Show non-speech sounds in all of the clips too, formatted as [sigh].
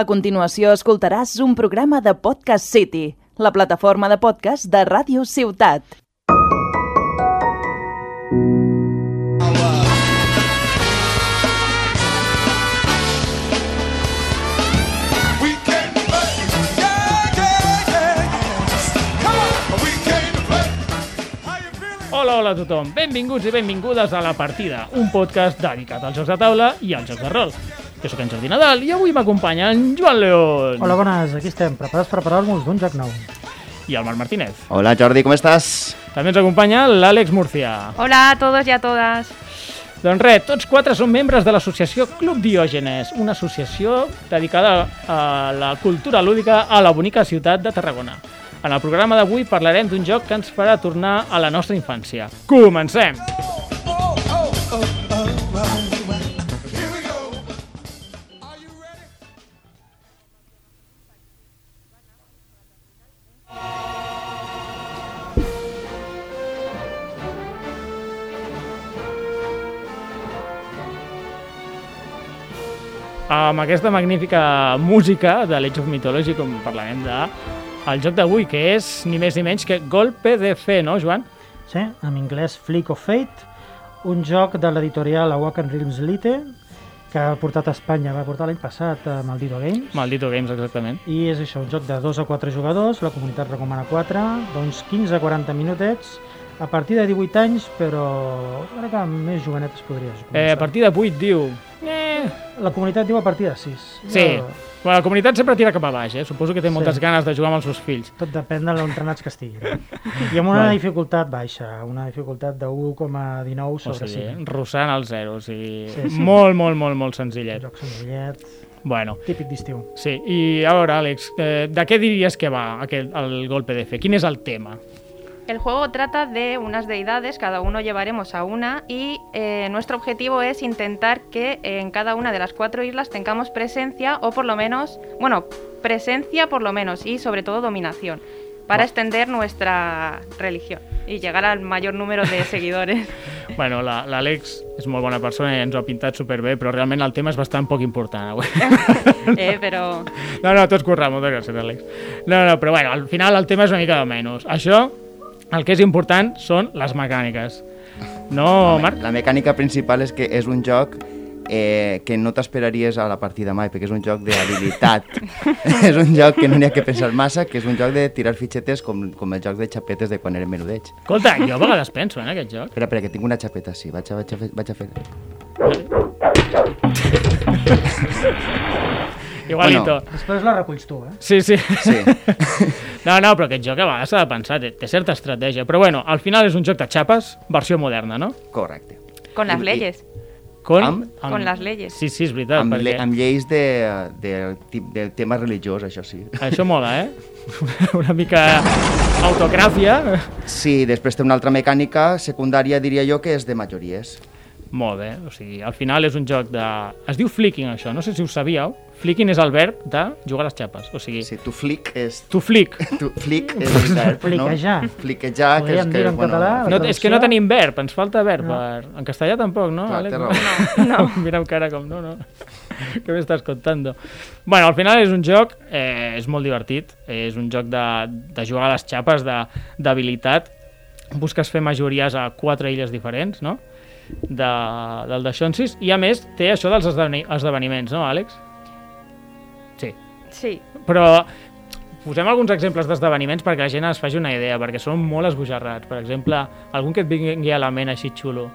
A continuació escoltaràs un programa de Podcast City, la plataforma de podcast de Ràdio Ciutat. We came to play. Yeah, yeah, yeah. Come on. We came to play. How you feeling? Hola, hola a tothom. Benvinguts i benvingudes a La Partida, un podcast dedicat als jocs de taula i als jocs de rol. Jo sóc en Jordi Nadal i avui m'acompanya en Joan León Hola, bones, aquí estem, preparats per parlar-nos d'un joc nou. i el Marc Martínez. Hola Jordi, com estàs? També ens acompanya l'Àlex Murcia. Hola a todos y a todas. Doncs res, tots quatre són membres de l'associació Club Diògenes, una associació dedicada a la cultura lúdica a la bonica ciutat de Tarragona. En el programa d'avui parlarem d'un joc que ens farà tornar a la nostra infància. Comencem! Oh, Here we go. Are you ready? amb aquesta magnífica música de l'Age of Mythology, com parlarem de el joc d'avui, que és ni més ni menys que Golpe de Fe, no, Joan? Sí, en anglès Flick of Fate, un joc de l'editorial Awaken Realms Lite, que ha portat a Espanya, va portar l'any passat a Maldito Games, Maldito Games, exactament. i és això, un joc de 2 a 4 jugadors, la comunitat recomana 4, doncs 15 a 40 minutets, a partir de 18 anys, però crec que amb més jovenet es podria començar. Eh, a partir de 8 diu... Eh, La comunitat diu a partir de 6. sí. Bueno, la comunitat sempre tira cap a baix, eh? Suposo que té moltes Sí. ganes de jugar amb els seus fills. Tot depèn de l'entrenats que [laughs] estiguin. I amb una Vale. dificultat baixa, una dificultat de 1,19 O sobre sigui, 5. rossant els zeros i Sí, sí. molt, molt, molt, molt senzillet. Joc senzillet, Bueno, típic d'estiu. sí. I a veure, Àlex, eh, de què diries que va aquest, el golpe de fe? Quin és el tema? El juego trata de unas deidades, cada uno llevaremos a una y eh, nuestro objetivo es intentar que en cada una de las cuatro islas tengamos presencia o por lo menos, bueno, presencia por lo menos y sobre todo dominación para extender nuestra religión y llegar al mayor número de seguidores. [laughs] Bueno, la- l'Àlex és molt bona persona i ens ho ha pintat superbé, però realment el tema és bastant poc important avui. [laughs] Eh, pero No, no, tots currant, moltes gràcies, Àlex. No, no, però bueno, al final el tema és una mica de menys. Això, el que és important són les mecàniques. No, Marc? La mecànica principal és que és un joc eh, que no t'esperaries a la partida mai, perquè és un joc d'habilitat. és un joc que no n'hi ha que pensar massa, que és un joc de tirar fitxetes com, com el joc de xapetes de quan érem menudets. Escolta, jo a vegades penso eh, en aquest joc. Espera, espera, que tinc una xapeta, sí, vaig a, vaig a, fer, vaig a fer... Igualito. Bueno. Després la reculls tu, eh? Sí, sí. Sí, [laughs] No, no, però aquest joc a vegades s'ha de pensar, té, té certa estratègia. Però bueno, al final és un joc de xapes, versió moderna, no? correcte. con las Y- y- leyes. Con, Amb- Con les leyes. Sí, sí, és veritat. Amb, perquè... lle amb lleis de, del, tip- del tema religiós, això sí. Això mola, eh? [laughs] Una mica autocràcia. Sí, després té una altra mecànica secundària, diria jo, que és de majories. Molt bé, o sigui, al final és un joc de... Es diu flicking, això, no sé si ho sabíeu. Flicking és el verb de jugar a les xapes, o sigui, sí. Sí, tu flick és tu flic. [laughs] Tu, flic és el verb, no? Mm. Fliquejar. Fliquejar, que és Podríem que... dir en català, No, és que no traducció? tenim verb, ens falta verb. No. Ah, doncs No. Per... En castellà tampoc, no? Clar, Àlex? té raó. No. [laughs] Mira'm cara com, no, [laughs] no. Què m'estàs contando? Bueno, al final és un joc, eh, és molt divertit, és un joc de, de jugar a les xapes, de- d'habilitat. Busques fer majories a quatre illes diferents, no? De, del de Xonsis. I a més té això dels esdeveni esdeveniments, no, Àlex? Sí. Sí, Però posem alguns exemples d'esdeveniments perquè la gent es faci una idea, perquè són molt esbojarrats. Per exemple, algun que et vingui a la ment així xulo.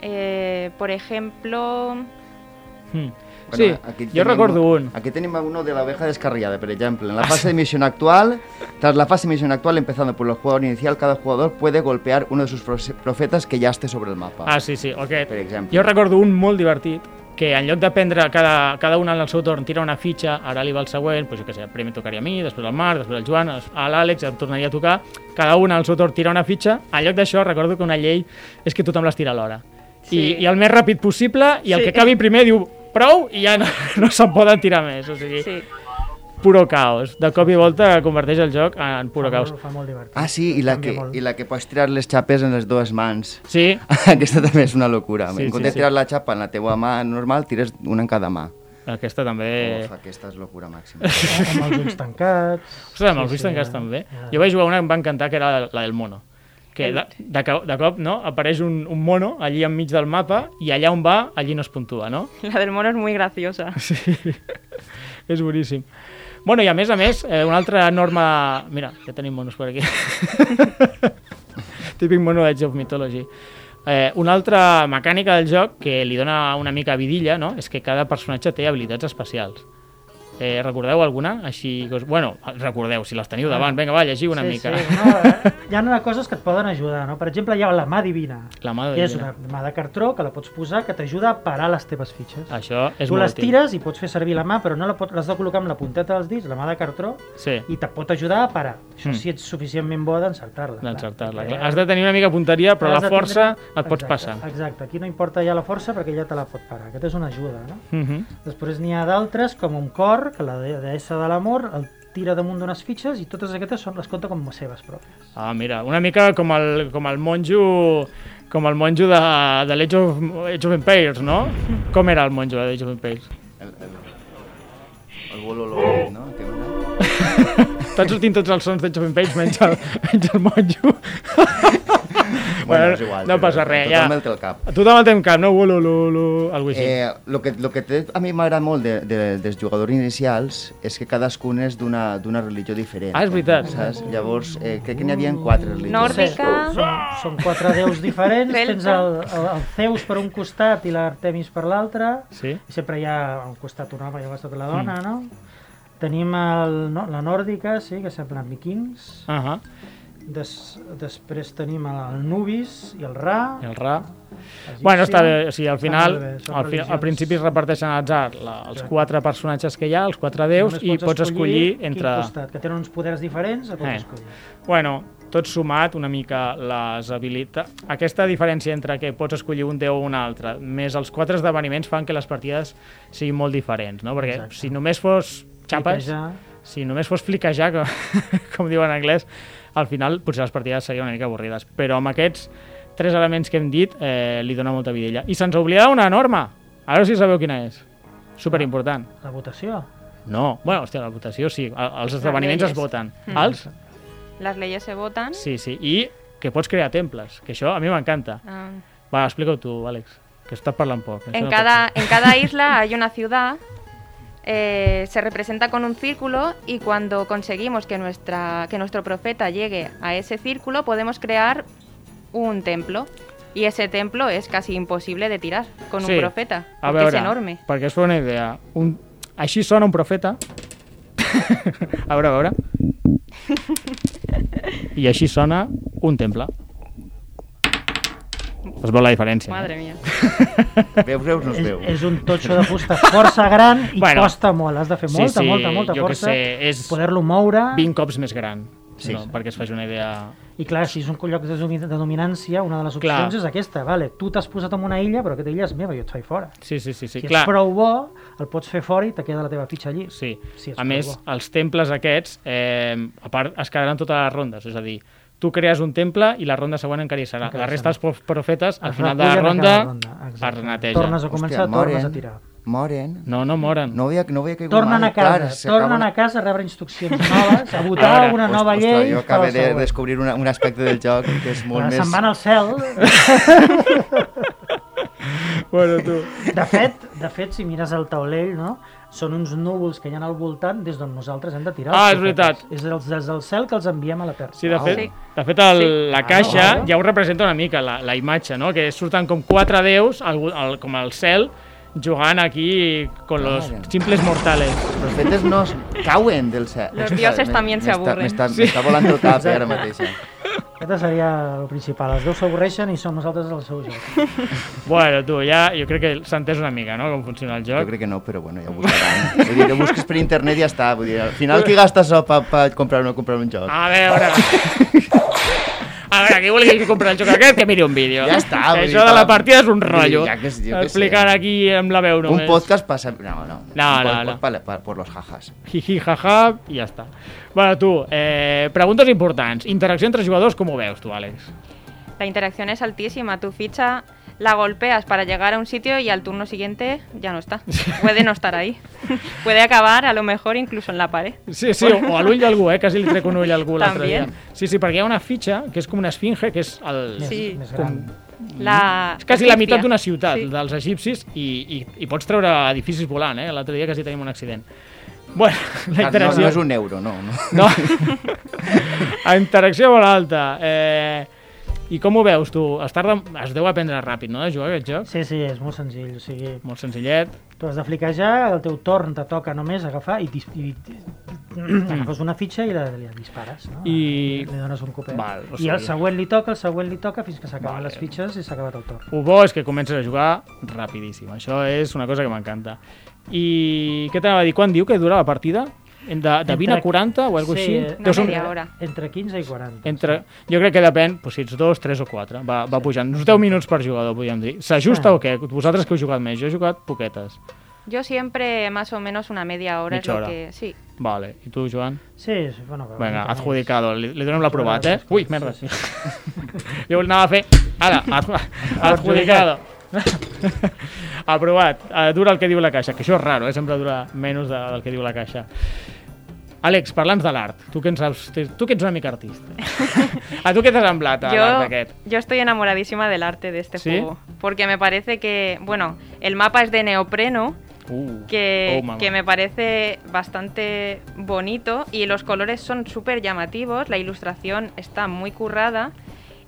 eh, por ejemplo, Hm. sí, jo recordo un. Ah, Aquí tenemos uno de la oveja descarriada, por ejemplo. En la fase de misión actual, tras la fase de misión actual, empezando por el jugador inicial, cada jugador puede golpear uno de sus profe- profetas que ya esté sobre el mapa. Ah, sí, sí, o aquest. Per exemple. Jo recordo un molt divertit, que en lloc de prendre cada, cada un en el seu torn, tira una fitxa, ara li va el següent, doncs jo què sé, primer tocaria a mi, després al Marc, després al Joan, a l'Àlex, em tornaria a tocar, cada un al seu torn tira una fitxa, en lloc d'això recordo que una llei és que tothom les tira alhora. Sí. I, I el més ràpid possible, i el Sí. que acabi primer diu prou i ja no, [laughs] no se'n poden tirar més, o sigui, sí. [laughs] puro caos. De cop i volta converteix el joc en puro Fa caos. molt, fa molt divertit. Ah, sí, y la, Canvia que, molt. i la que puedes tirar les chapes en les dues mans. [laughs] Sí, Aquesta també és una locura. Sí, en sí, comptes de sí. tirar la xapa en la teua mà normal, tires una en cada mà. Aquesta també... Uf, aquesta és locura màxima. amb els [laughs] ulls tancats... Ostres, me'ls Sí, vist sí, encara ja. també. Ja. Jo vaig jugar una que em va encantar, que era la, la del mono. Que de, de, co- de cop no? apareix un, un mono allí enmig del mapa i allà on va, allí no es puntua, no? La del mono es muy graciosa. És boníssim. Bueno, i a més a més, eh, una altra norma... Mira, ja tenim monos [laughs] per aquí. Típic mono d'Age of Mythology. Eh, una altra mecànica del joc que li dona una mica vidilla no? és que cada personatge té habilitats especials. Eh, recordeu alguna? Així, que us- bueno, recordeu, si les teniu davant. Vinga, va, llegiu una sí, mica. Sí. No, eh, hi ha una coses que et poden ajudar, no? Per exemple, hi ha la mà divina. La mà que és divina. una mà de cartró que la pots posar que t'ajuda a parar les teves fitxes. Això Ah, és tu molt les útil. tires i pots fer servir la mà, però no la pots, l'has de col·locar amb la punteta dels dits, la mà de cartró, Sí, i te pot ajudar a parar. Això Mm. si ets suficientment bo d'encertar-la. clar. d'encertar-la. Perquè clar. Has de tenir una mica de punteria, però has la de tindre- força et pots Exacte, passar. Exacte, aquí no importa ja la força perquè ja te la pot parar. Aquest és una ajuda, no? Mhm. Després n'hi ha d'altres, com un cor, que la de- deessa de l'amor el tira damunt d'unes fitxes i totes aquestes són, les compta com seves pròpies. Ah, mira, una mica com el, com el monjo com el monjo de, de l'Age of, Age of Empires, no? Com era el monjo de l'Age of Empires? El, el, el bololo, no? Que una- Estan sortint tots els sons d'Age of Empires menys el, [laughs] menys el monjo. Bueno, és igual. no passa res, ja. Tothom el té al cap. Tothom el té en cap, no? Ulo, ulo, ulo, algo així. Eh, lo que, lo que té, a mi m'agrada molt de, de, dels jugadors inicials és que cadascun és d'una d'una religió diferent. Ah, és veritat. Saps? Llavors, eh, crec que n'hi havia quatre religions. Nórdica. Són, són quatre déus diferents, Celta. tens el, el, el Zeus per un costat i l'Artemis per l'altre, Sí? i sempre hi ha a un costat un home i a un costat la dona, no? Tenim el, no, la nòrdica, sí, que semblen vikings. Uh -huh. Des, després tenim el, el Nubis i el Ra. El Ra. egípcia. Bueno, està bé, o sigui, al Està final, molt bé, són al, fi, al religions. principi es reparteixen a atzar la, els Exacte. quatre personatges que hi ha, els quatre déus, Només i pots escollir quin entre... Costat, que tenen uns poders diferents, el pots Eh. escollir. Bueno, tot sumat una mica les habilitats... Aquesta diferència entre que pots escollir un déu o un altre, més els quatre esdeveniments fan que les partides siguin molt diferents, no? Perquè Exacte. si només fos xapes, Fliquejar. si només fos fliquejar, com, [laughs] com diuen en anglès, al final potser les partides serien una mica avorrides. Però amb aquests tres elements que hem dit eh, li dona molta vidella. I se'ns oblidava una norma. A veure si sabeu quina és. Superimportant. La votació. No. Bueno, hòstia, la votació sí. El- Els esdeveniments es lleis. voten. Els Las leyes se votan. Sí, sí, i que pots crear temples, que això a mi m'encanta. Ah. Va, explica-ho tu, Àlex, que estàs parlant poc. això En no cada, pot [laughs] en cada isla hay una ciudad, eh, se representa con un círculo y cuando conseguimos que, nuestra, que nuestro profeta llegue a ese círculo podemos crear un templo. Y ese templo es casi imposible de tirar con Sí. un profeta, ser. A porque veure, es enorme. perquè us fa una idea, un... així sona un profeta. [laughs] a veure, a [laughs] veure. I així sona un temple. Es veu la diferència. eh? no? Madre mía. Veus, veus, no es És, veu. és un totxo de fusta força gran i Bueno. bueno, costa molt. Has de fer Sí, molta, sí, molta, molta jo que força. sé, és Poder-lo moure. 20 cops més gran, Sí, no? sí. perquè es faci una idea... I clar, si és un lloc de domi- de dominància, una de les Clar. opcions és aquesta. Vale, tu t'has posat en una illa, però aquesta illa és meva, jo et faig fora. Sí, sí, sí, sí. si clar. ets prou bo, el pots fer fora i te queda la teva fitxa allí. Sí. Sí, és a molt més, bo. els temples aquests, eh, a part, es quedaran totes les rondes, és a dir, tu crees un temple i la ronda següent encara hi serà. Encara la hi resta dels serà. prof- profetes, al Es final de la recullen a ronda, cada es Exacte. renetegen. Tornes a començar, Hòstia, eh? tornes a moren. tirar. Moren. No, no moren. No havia, no havia caigut Tornen mai. a casa, Clar, s'acaba tornen una- a casa a rebre [laughs] instruccions noves, a votar Ara, una nova Ostres, llei. doncs, Jo per al acabé de següent. descobrir una, un aspecte del joc que és molt Ah, més... Se'n van al cel. [laughs] [laughs] Bueno, tu... De fet, de fet, si mires el taulell, no? són uns núvols que hi ha al voltant des d'on nosaltres hem de tirar. els Ah, és profetes. veritat. És els, des del cel que els enviem a la Terra. Sí, de Uau. fet, Sí. de fet el, la caixa Ah, ja ho representa una mica, la, la imatge, no? que surten com quatre déus, al, al, com al cel, jugant aquí con los Claro. simples mortales. Els profetes no es cauen del cel. Los dioses Me- también se m'està- aburren. M'està sí. volant el cap eh, ara mateix. Aquest seria el principal. Els déus s'avorreixen i som nosaltres el seu joc. Bueno, tu, ja jo crec que s'ha entès una mica, no?, com funciona el Jo joc. crec que no, però bueno, ja ho buscaran. Vull dir, ho busques per internet i ja està. Vull dir, al final qui gasta això per pa comprar o no comprar un joc? A veure... A veure, qui vulgui comprar el joc aquest, que miri un vídeo. Ja està, Que vull Això dir, de la va. partida és un Vull dir, rotllo. ja que sí, jo que sé. Explicar aquí amb la veu només. un podcast passa... No, no. un no, pod- no. pod pa- pa- Por los jajas. Ah, Jiji, jaja, i ja està. Bueno, tu, eh, preguntes importants. Interacció entre jugadors, com ho veus tu, Àlex? La interacción es altísima. Tu ficha la golpeas para llegar a un sitio y al turno siguiente ya no [laughs] está. Puede no estar ahí. [laughs] Puede acabar a lo mejor incluso en la pared. Sí, sí, o, o a l'ull d'algú, eh? Quasi li trec un ull a algú l'altre També. dia. Sí, sí, perquè hi ha una fitxa, que és com una esfinge, que és el... Més, Sí. més Com, gran. La... és quasi la egipcia. meitat d'una ciutat, Sí. dels egipcis, i, i, i pots treure edificis volant, eh? L'altre dia quasi tenim un accident. Bueno, [laughs] la Ah, No, interacció... no és un euro, no. [laughs] no. No. [laughs] A interacció molt alta. Eh, I com ho veus, tu? Es, tarda, es deu aprendre ràpid, no?, de jugar a aquest joc. Sí, sí, és molt senzill. O sigui, Molt senzillet. tu has de fliquejar, el teu torn te toca només agafar i, dis- i agafes una fitxa i la, la dispares. No? I- Li dones un copet. Val, o I el sigui- següent li toca, el següent li toca, fins que s'acaben Vale. les fitxes i s'ha acabat el torn. El bo és que comences a jugar rapidíssim. Això és una cosa que m'encanta. I què t'anava a dir? Quan diu que dura la partida? En De, de 20 a Entre- 40 o alguna Sí, així? eh, Una Deu ser un- media hora. Entre 15 i 40. Entre, jo crec que depèn doncs, si ets dos, tres o quatre. Va, va pujant. Uns 10 minuts per jugador, podríem dir. S'ajusta Ah. o què? Vosaltres que heu jugat més? Jo he jugat poquetes. Yo siempre más o menos una media hora es Mitja lo hora. que... Sí. Vale. I tu, Joan? Sí, sí, bueno... però Vinga, una mica més. adjudicado. Li, li donem l'aprovat, eh? Sí, sí, Ui, sí, merda. sí. Jo anava a fer... Ara, [laughs] adju- adjudicado. [laughs] Aprovat. Eh, dura el que diu la caixa, que això és raro, eh? sempre dura menys de, del que diu la caixa. Àlex, parla'ns de l'art. Tu, que en saps, tu que ets una mica [laughs] artista. a tu què t'has semblat a l'art Yo, aquest? yo estoy enamoradísima del arte de este ¿Sí? juego. Porque me parece que, bueno, el mapa es de neopreno, Uh, que, oh, mamá. que me parece bastante bonito y los colores son súper llamativos, la ilustración está muy currada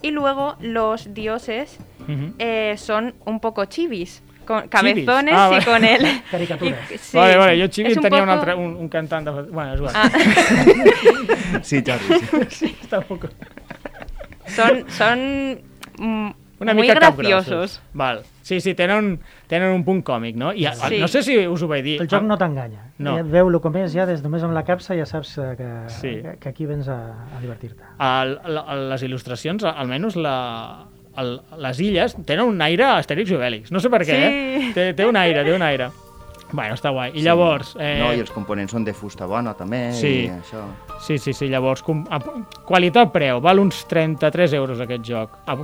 y luego los dioses Mhm. eh, son un poco chivis, con cabezones Ah, vale. y [laughs] con el... [laughs] Caricaturas. y- sí, Vale, vale, jo es Chibi un tenia un, poco- altre, un, un cantant de... Bueno, és igual. Ah, Sí, Jordi, sí. Tampoc... son son mm, Una muy mica graciosos. capgrossos. Val. Sí, sí, tenen, tenen un punt còmic, no? I a, a, Sí. no sé si us ho vaig dir. El joc no t'enganya. Ah. No. No. Ja veu-lo com és, ja des només amb la capsa ja saps eh, que, sí. Sí. que, que aquí vens a, a divertir-te. El, el, el- les il·lustracions, almenys la, el, les illes, tenen un aire a Astèrix i Obèlix. No sé per què, Sí. eh? Té, té un aire, té un aire. Bueno, està guai. I llavors... Eh... No, i els components són de fusta bona, també, Sí. i això. Sí, sí, sí, llavors... Com, a, qualitat-preu, val uns 33 euros aquest joc. A,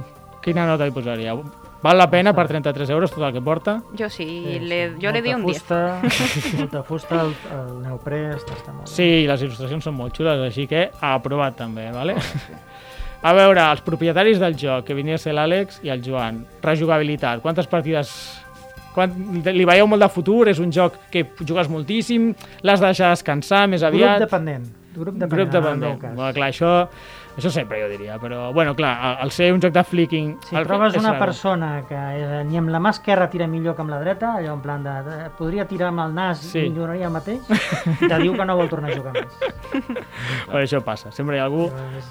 quina nota hi posaria? Val la pena per 33 euros tot el que porta? Yo sí, Sí, sí. le- yo le di Molta un 10. [laughs] fusta, Molta fusta, el, el neoprè, està, està molt Sí, i les il·lustracions són molt xules, així que aprovat també, vale? A veure, els propietaris del joc, que vindria a ser l'Àlex i el Joan. Rejugabilitat, quantes partides... Quan... Li veieu molt de futur? És un joc que jugues moltíssim? L'has de deixar descansar més bé. Grup aviat? dependent. Grup dependent. Grup dependent. En el meu Bueno, cas. clar, això, això sempre jo diria, però... Bueno, clar, a- al ser un joc de flicking... Si el- trobes és una raro. persona que eh, ni amb la mà esquerra tira millor que amb la dreta, allò en plan de, de podria tirar amb el nas Sí. i milloraria el mateix, te diu que no vol tornar a [laughs] jugar més. Però això passa, sempre hi ha algú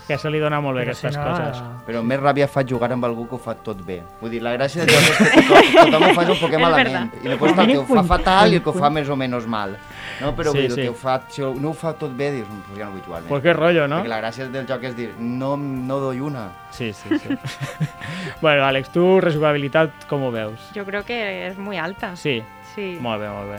que se li dona molt bé aquestes coses. eh, Però més ràbia fa jugar amb algú que ho fa tot bé. Vull dir, la gràcia de Jordi és que tothom, tothom ho fa un poquet És malament. I després el que ho fa fatal i el que ho fa més o menys mal. No, però Sí, vull dir, sí. el que ho fa, si no ho fa tot bé, dius, "Mm, pues ja no vull jugar més. Pues qué rollo, no? Perquè la gràcia del joc és dir, no, no doy una. Sí, sí, [laughs] sí. bueno, Àlex, tu rejugabilitat com ho veus? Yo creo que es muy alta. Sí, Sí. molt bé, molt bé.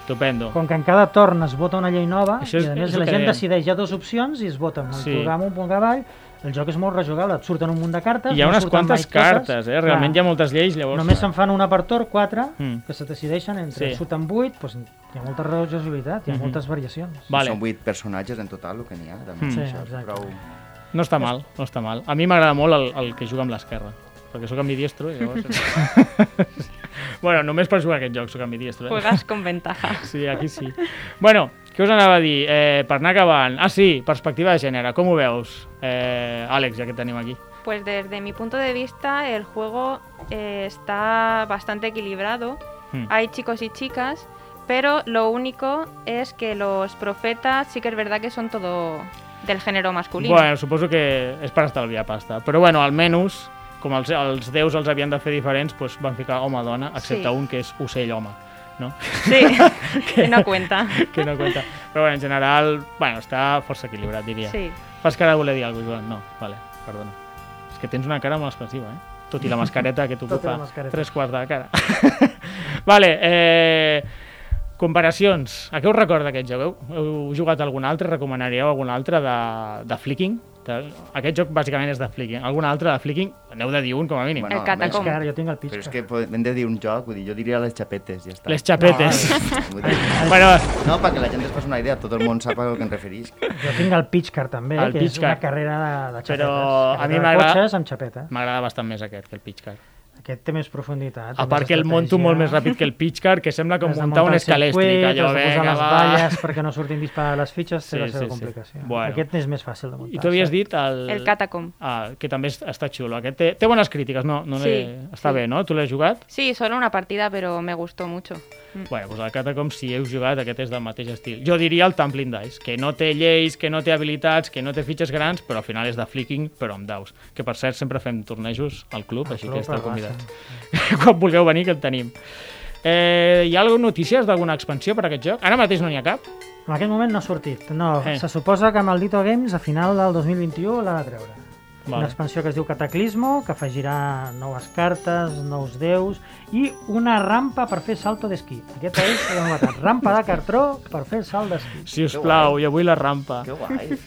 Estupendo. Com que en cada torn es vota una llei nova, Això és- i a és més el la que gent dèiem. decideix, hi ha dues opcions i es voten un Sí. sí. programa, un punt avall, el joc és molt rejugable, et surten un munt de cartes... Hi ha no unes surten quantes mai totes. cartes, eh? Realment hi ha moltes lleis, llavors... Només se'n fan una per torn, quatre, Mm. que se decideixen entre... Sí. Mm-hmm. Sí. Surten vuit, doncs hi ha molta rejugabilitat, hi ha moltes variacions. Vale, Són vuit personatges en total, el que n'hi ha. També, Mm. mm. Sí, això, és exacte. prou... no està mal, no està mal. A mi m'agrada molt el, el que juga amb l'esquerra, perquè sóc ambidiestro i [laughs] llavors... [laughs] bueno, només per jugar a aquest joc sóc ambidiestro. Eh? Juegas [laughs] con ventaja. Sí, aquí sí. Bueno, què us anava a dir? Eh, per anar acabant... Ah, sí, perspectiva de gènere. Com ho veus, eh, Àlex, ja que et tenim aquí? Pues desde mi punto de vista el juego eh, está bastante equilibrado. Hmm. Hay chicos y chicas, pero lo único es que los profetas sí que es verdad que son todo del género masculino. Bueno, suposo que és per estalviar pasta. Però bueno, almenys, com els, els déus els havien de fer diferents, doncs van ficar home-dona, excepte Sí. un que és ocell-home, no? [laughs] [laughs] Sí, que no cuenta. que no cuenta. Però bueno, en general, bueno, està força equilibrat, diria. Sí. Fas cara de voler dir alguna cosa, Joan? No, vale, perdona. És que tens una cara molt expressiva, eh? Tot i la mascareta que Tot i la t'ocupa mascareta. tres quarts de la cara. [laughs] vale, eh... Comparacions. A què us recorda aquest joc? Heu, heu jugat algun altre? Recomanaríeu algun altre de, de flicking? Tal. Aquest joc bàsicament és de flicking. Algun altre de flicking, n'heu de dir un com a mínim. Bueno, el catacom. Que ara jo tinc el pitch. Però és que po- hem de dir un joc, vull dir, jo diria les xapetes, ja està. Les xapetes. Vull dir, bueno, No, perquè la gent es faci una idea, tot el món sap a què em referís. Jo tinc el Pitchcar també, El que Pitch és una Car. carrera de, de xapetes. Però a Carrera mi de m'agrada- Cotxes amb xapeta. m'agrada bastant més aquest que el pitchcar. Aquest té més profunditat. A part que el monto molt més ràpid que el pitchcar, que sembla com muntar un escalèstric. escalèstric, Allò, has de venga, posar les va. balles perquè no surtin disparades les fitxes, té Sí, la seva sí, sí. complicació. Bueno. Aquest és més fàcil de muntar. I tu havies sí. dit el... El Catacomb. Ah, que també es- està xulo. Aquest té, té bones crítiques, no? no Sí, l'he- Està sí. bé, no? Tu l'has jugat? Sí, solo una partida, pero me gustó mucho. Bueno, doncs el Catacomb, si heu jugat, aquest és del mateix estil. Jo diria el Tumbling Dice, que no té lleis, que no té habilitats, que no té fitxes grans, però al final és de flicking, però amb daus. Que, per cert, sempre fem tornejos al club, així club que esteu al Barça. convidats. [laughs] Quan vulgueu venir, que el tenim. Eh, hi ha alguna notícies d'alguna expansió per a aquest joc? Ara mateix no n'hi ha cap. En aquell moment no ha sortit. No, Eh. se suposa que Maldito Games a final del 2021 l'ha de treure. Vale. Una expansió que es diu Cataclismo, que afegirà noves cartes, nous déus i una rampa per fer salto d'esquí. Aquesta és la novetat. Rampa de cartró per fer salt d'esquí. Si us plau, jo vull la rampa. Que guai.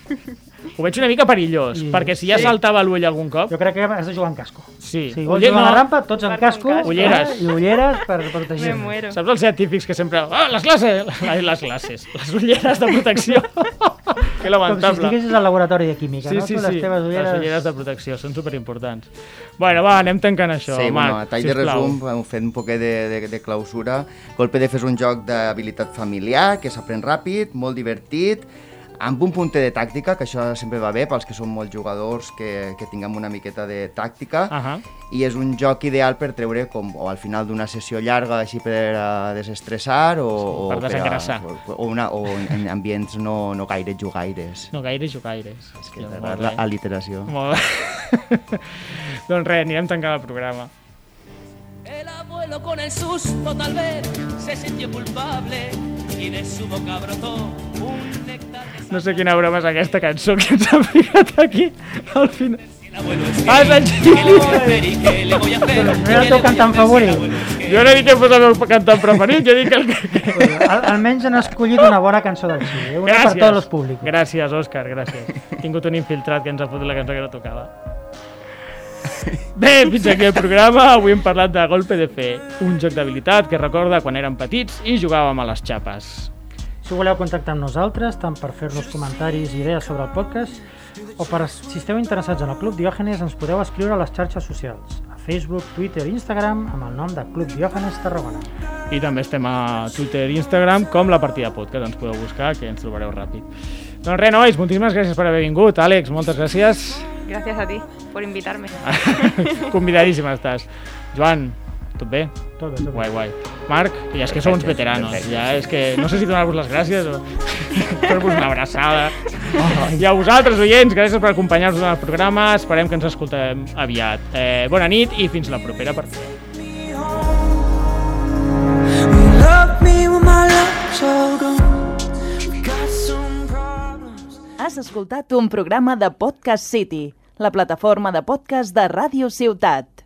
Ho veig una mica perillós, I- perquè si ja sí. saltava l'ull algun cop... Jo crec que has de jugar amb casco. Sí. Si vols Uller- jugar a no. la rampa, tots amb Jugar amb casco, casco. Ulleres. eh, i ulleres per Pues protegir. Me muero. Saps els científics que sempre... Ah, les classes! [laughs] Les, les classes. Les ulleres de protecció. [laughs] que Com si lamentable. estiguessis al laboratori de química, no? tu les teves ulleres... les ulleres de protecció són superimportants. Bueno, va, anem tancant això, Sí, Marc, bueno, a tall de sisplau. resum, hem fet un poquet de, de, de clausura. Golpe de fer és un joc d'habilitat familiar, que s'aprèn ràpid, molt divertit, amb un punter de tàctica, que això sempre va bé pels que són molt jugadors que, que tinguem una miqueta de tàctica, Ahà. i és un joc ideal per treure com, o al final d'una sessió llarga així per a desestressar o, per o, desengrassar. o, o, una, o en, en ambients no, no gaire jugaires. No gaires o gaires. És que t'agrada eh. l'aliteració. Molt bé. [laughs] doncs res, anirem tancant el programa. El abuelo con el susto tal vez se sintió culpable y de su boca brotó un néctar de No sé quina broma és aquesta cançó que ens ha ficat aquí al final. El abuelo es Ah, és el ¿Qué le voy a Gil! hacer y qué le voy a hacer? Pero no ¿Qué tocan le voy a tan hacer si el favores. abuelo es que- Jo no dic que fos el meu cantant preferit, jo dic el que... Al, almenys han escollit una bona cançó del Xile, una Gràcies. per tots els públics. Gràcies, Òscar, gràcies. [laughs] He tingut un infiltrat que ens ha fotut la cançó que no tocava. Bé, fins aquí el programa. Avui hem parlat de Golpe de Fe, un joc d'habilitat que recorda quan érem petits i jugàvem a les xapes. Si voleu contactar amb nosaltres, tant per fer-nos comentaris i idees sobre el podcast, o per, si esteu interessats en el Club Diògenes, ens podeu escriure a les xarxes socials, a Facebook, Twitter i Instagram, amb el nom de Club Diògenes Tarragona. I també estem a Twitter i Instagram com la partida podcast. Ens podeu buscar, que ens trobareu ràpid. Doncs res, nois, moltíssimes gràcies per haver vingut. Àlex, moltes gràcies. [laughs] Gracias a ti por invitarme. Convidadíssim estàs. Joan, tot bé? Tot bé, tot bé. Guai, guai. Marc, ja és que sou uns veteranos, ja és que no sé si donar-vos les gràcies o fer-vos una abraçada. I a vosaltres, oients, gràcies per acompanyar-nos en el programa, esperem que ens escoltem aviat. Eh, bona nit i fins la propera partida. Love me when my love's all gone. Got some problems. Has escoltat un programa de Podcast City, la plataforma de podcast de Ràdio Ciutat.